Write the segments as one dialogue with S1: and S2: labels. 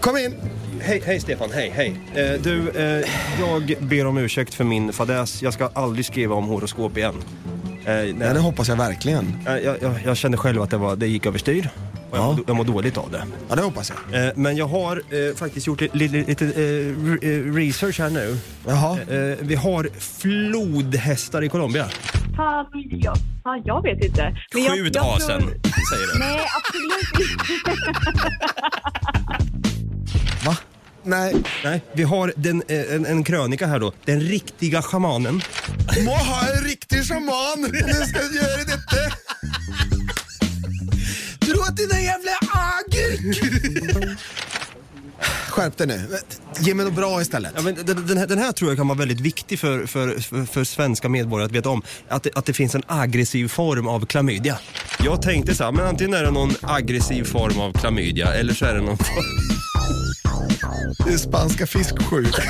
S1: Kom in.
S2: Hej, hej Stefan, hej, hej. Eh, du, eh, jag ber om ursäkt för min fadäs. Jag ska aldrig skriva om horoskop igen. Eh, nej,
S3: Ja, det hoppas jag verkligen.
S2: Eh, jag, jag, jag kände själv att det, var, det gick överstyr. Och jag,
S3: Ja.
S2: mår, jag mår dåligt av det.
S3: Ja, det hoppas jag.
S2: Eh, men jag har eh, faktiskt gjort li, li, lite eh, re- eh, research här nu.
S3: Jaha.
S2: Eh, vi har flodhästar i Colombia.
S4: Fan, jag, fan, jag vet inte. Men jag-
S2: Skjut
S4: jag tror-
S2: asen, säger du.
S4: Nej, absolut inte.
S3: Va? Nej.
S2: Nej, vi har den, eh, en, en krönika här då. Den riktiga schamanen.
S3: Må ha en riktig shaman om du ska göra detta. Dra till den jävla agurk! Skärp dig nu. Ge mig något bra istället.
S2: Ja, men den, den, här, den här tror jag kan vara väldigt viktig för, för, för, för svenska medborgare att veta om. Att det, att det finns en aggressiv form av klamydia. Jag tänkte så här, men antingen är det någon aggressiv form av klamydia eller så är det någon form...
S3: Det är spanska fisksjukan.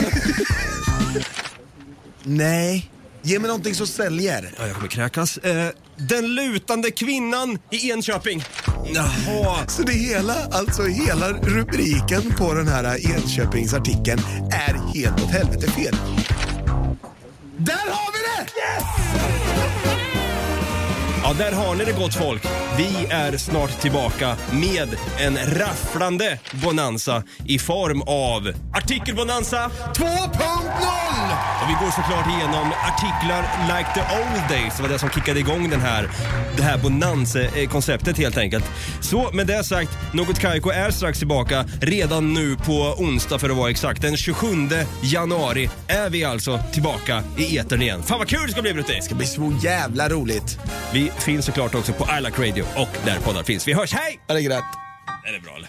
S3: Nej. Ge mig någonting som säljer.
S2: Ja, jag kommer kräkas. Eh, den lutande kvinnan i Enköping. Jaha.
S3: Så det hela, alltså hela rubriken på den här Enköpingsartikeln är helt åt helvete fel. Där har vi det!
S2: Ja, där har ni det gott folk. Vi är snart tillbaka med en rafflande bonanza i form av artikelbonanza
S3: 2.0!
S2: Och vi går såklart igenom artiklar like the old days. Det var det som kickade igång den här, det här bonanse-konceptet helt enkelt. Så med det sagt, Något Kaiko är strax tillbaka redan nu på onsdag för att vara exakt. Den 27 januari är vi alltså tillbaka i etern igen. Fan vad kul det ska bli Brutti!
S3: Det blir så jävla roligt.
S2: Vi finns såklart också på I like Radio och där poddar finns. Vi hörs, hej!
S3: Ja, det är grönt.
S2: Är det bra eller?